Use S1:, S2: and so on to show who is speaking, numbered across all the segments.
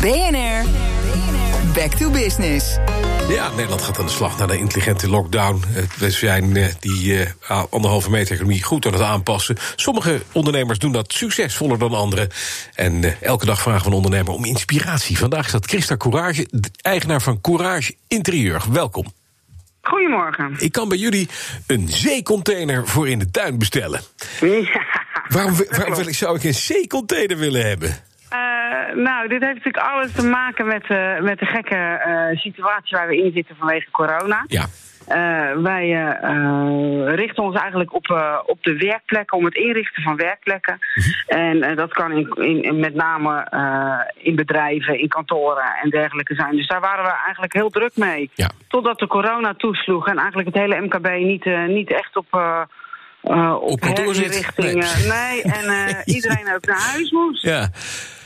S1: BNR Back to Business.
S2: Ja, Nederland gaat aan de slag naar de intelligente lockdown. Eh, We zijn eh, die eh, a- anderhalve meter economie goed aan het aanpassen. Sommige ondernemers doen dat succesvoller dan anderen. En eh, elke dag vragen we een ondernemer om inspiratie. Vandaag is dat Christa Courage, de eigenaar van Courage Interieur. Welkom.
S3: Goedemorgen.
S2: Ik kan bij jullie een zeecontainer voor in de tuin bestellen.
S3: Ja.
S2: Waarom, wi- waarom
S3: klopt.
S2: wil ik, zou ik een zeecontainer willen hebben?
S3: Eh, nou, dit heeft natuurlijk alles te maken met, eh, met de gekke eh, situatie waar we in zitten vanwege corona.
S2: Ja,
S3: Eh, wij eh, eh, richten ons eigenlijk op, eh, op de werkplekken, om het inrichten van werkplekken.
S2: Mhm.
S3: En eh, dat kan in, in, in- met name eh, in bedrijven, in kantoren en dergelijke zijn. Dus daar waren we eigenlijk heel druk mee.
S2: Ja.
S3: Totdat de corona toesloeg en eigenlijk het hele MKB niet, eh, niet echt op. eh eh, op,
S2: Op kantoor zit?
S3: herinrichtingen.
S2: Nee.
S3: Nee, en eh, iedereen ook naar huis moest.
S2: ja.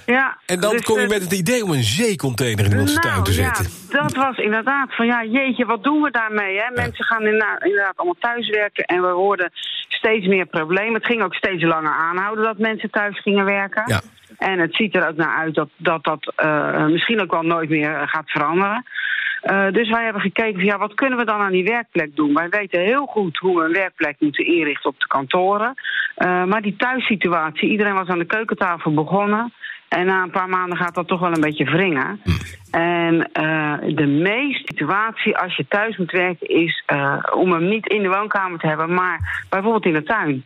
S3: Ja,
S2: En dan
S3: dus,
S2: kom je
S3: eh, Nou,
S2: met het idee om een zeecontainer in onze tuin te zetten.
S3: Ja, dat was inderdaad van ja, jeetje, wat doen we daarmee? Hè? Mensen gaan inderdaad, inderdaad allemaal thuiswerken en we hoorden steeds meer problemen. Het ging ook steeds langer aanhouden dat mensen thuis gingen werken.
S2: Ja.
S3: En het ziet er ook naar uit dat dat, dat eh, misschien ook wel nooit meer eh, gaat veranderen. Eh, dus wij hebben gekeken van ja, wat kunnen we dan aan die werkplek doen? Wij weten heel goed hoe we een werkplek moeten inrichten op de kantoren. Eh, maar die thuissituatie, iedereen was aan de keukentafel begonnen. En na een paar maanden gaat dat toch wel een beetje wringen. En eh, de meeste situatie als je thuis moet werken is eh, om hem niet in de woonkamer te hebben, maar bijvoorbeeld in de tuin.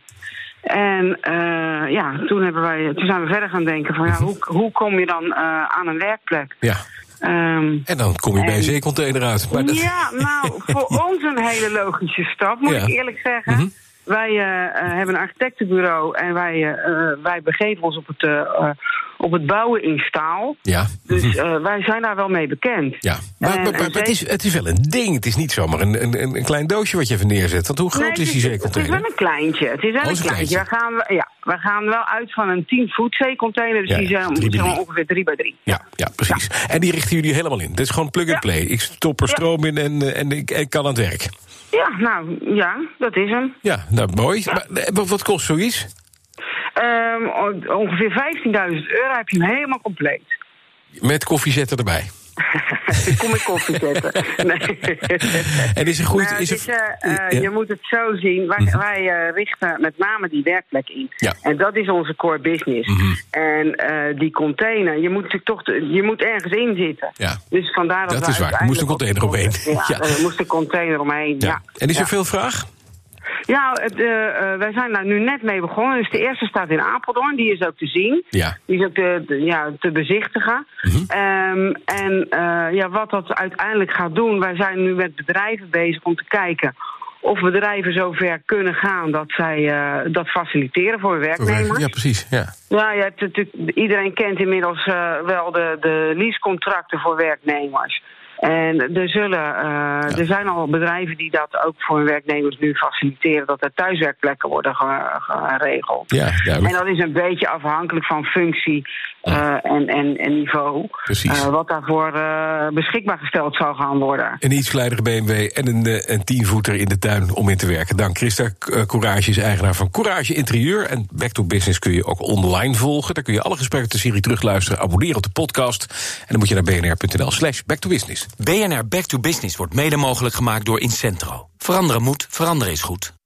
S3: En eh, ja, toen, hebben wij, toen zijn we verder gaan denken van ja, hoe, hoe kom je dan eh, aan een werkplek?
S2: Ja.
S3: Ehm,
S2: En dan kom je bij een
S3: En-
S2: zeecontainer uit. Maar dat-
S3: ja, nou, voor ons een hele logische stap, moet
S2: Ja.
S3: ik eerlijk zeggen.
S2: Mhm.
S3: Wij eh, eh, hebben een architectenbureau en wij, eh, eh, wij begeven ons op het, eh, eh, op het bouwen in staal.
S2: Ja. Mhm.
S3: Dus eh, wij zijn daar wel mee bekend.
S2: Ja, maar,
S3: En-
S2: maar- maar-
S3: en
S2: maar het, is, het is wel een ding. Het is niet zomaar een, een, een een klein doosje wat je even neerzet. Want hoe
S3: Nee,
S2: groot
S3: het
S2: is die
S3: Het is wel
S2: zeecontainer?
S3: een kleintje. Het is
S2: Oh,
S3: wel een
S2: het is een
S3: kleintje. We gaan, we- ja, we gaan wel uit van een 10-voet zeecontainer. Dus
S2: Ja,
S3: die
S2: ja,
S3: zijn,
S2: drie bij
S3: zijn
S2: drie.
S3: ongeveer 3 bij 3.
S2: Ja, ja, precies. En die richten jullie helemaal in. Dit is gewoon plug and
S3: Ja.
S2: play. Ik stop er
S3: Ja.
S2: stroom in en, eh, en ik, ik kan aan het werk.
S3: Ja, nou ja, dat is hem.
S2: Ja, nou mooi. Maar, eh, wat- wat kost zoiets?
S3: Ehm, on- ongeveer 15.000 euro heb je hem helemaal compleet.
S2: Met koffiezetter erbij.
S3: Dan kom ik koffie zetten. Nee.
S2: En is er goed.
S3: Nou,
S2: is er,
S3: het is, eh, eh,
S2: ja. Mhm.
S3: Je moet het zo zien. Wij, wij eh, richten met name die werkplek in.
S2: Ja. Mhm.
S3: En dat is onze core business. En eh, die container, je moet natuurlijk toch de- je moet ergens in zitten.
S2: Ja.
S3: Dus vandaar dat
S2: Dat
S3: we
S2: is waar. Er
S3: uiteindelijk
S2: moest een container
S3: op de-
S2: omheen.
S3: Ja,
S2: Ja.
S3: er moest een container omheen. Ja.
S2: ja. En is er
S3: Ja.
S2: veel vraag?
S3: Ja, het, eh, eh, wij zijn daar nu net mee begonnen. Dus de eerste staat in Apeldoorn, die is ook te zien.
S2: Ja.
S3: Die is ook te, te- ja, te bezichtigen. Ehm, en eh, ja, wat dat uiteindelijk gaat doen, wij zijn nu met bedrijven bezig om te kijken of bedrijven zover kunnen gaan dat zij eh, dat faciliteren voor hun werknemers.
S2: Ja, precies. Ja.
S3: Nou Ja, je hebt natuurlijk, iedereen kent inmiddels eh, wel de, de leasecontracten voor werknemers. En er, zullen, eh, er zijn al bedrijven die dat ook voor hun werknemers nu faciliteren, dat er thuiswerkplekken worden ge- geregeld.
S2: Ja,
S3: en
S2: duidelijk.
S3: dat is een beetje afhankelijk van functie eh, en, en, en niveau.
S2: Precies.
S3: eh, wat daarvoor eh, beschikbaar gesteld zal gaan worden.
S2: Een iets kleinere BMW en een, eh, een tienvoeter in de tuin om in te werken. Dank Christa. K- eh, Courage is eigenaar van Courage Interieur. En Back to Business kun je ook online volgen. Daar kun je alle gesprekken uit de serie terugluisteren. Abonneren op de podcast. En dan moet je naar bnr.nl slash back to business.
S4: BNR Back to Business wordt mede mogelijk gemaakt door Incentro. Veranderen moet, veranderen is goed.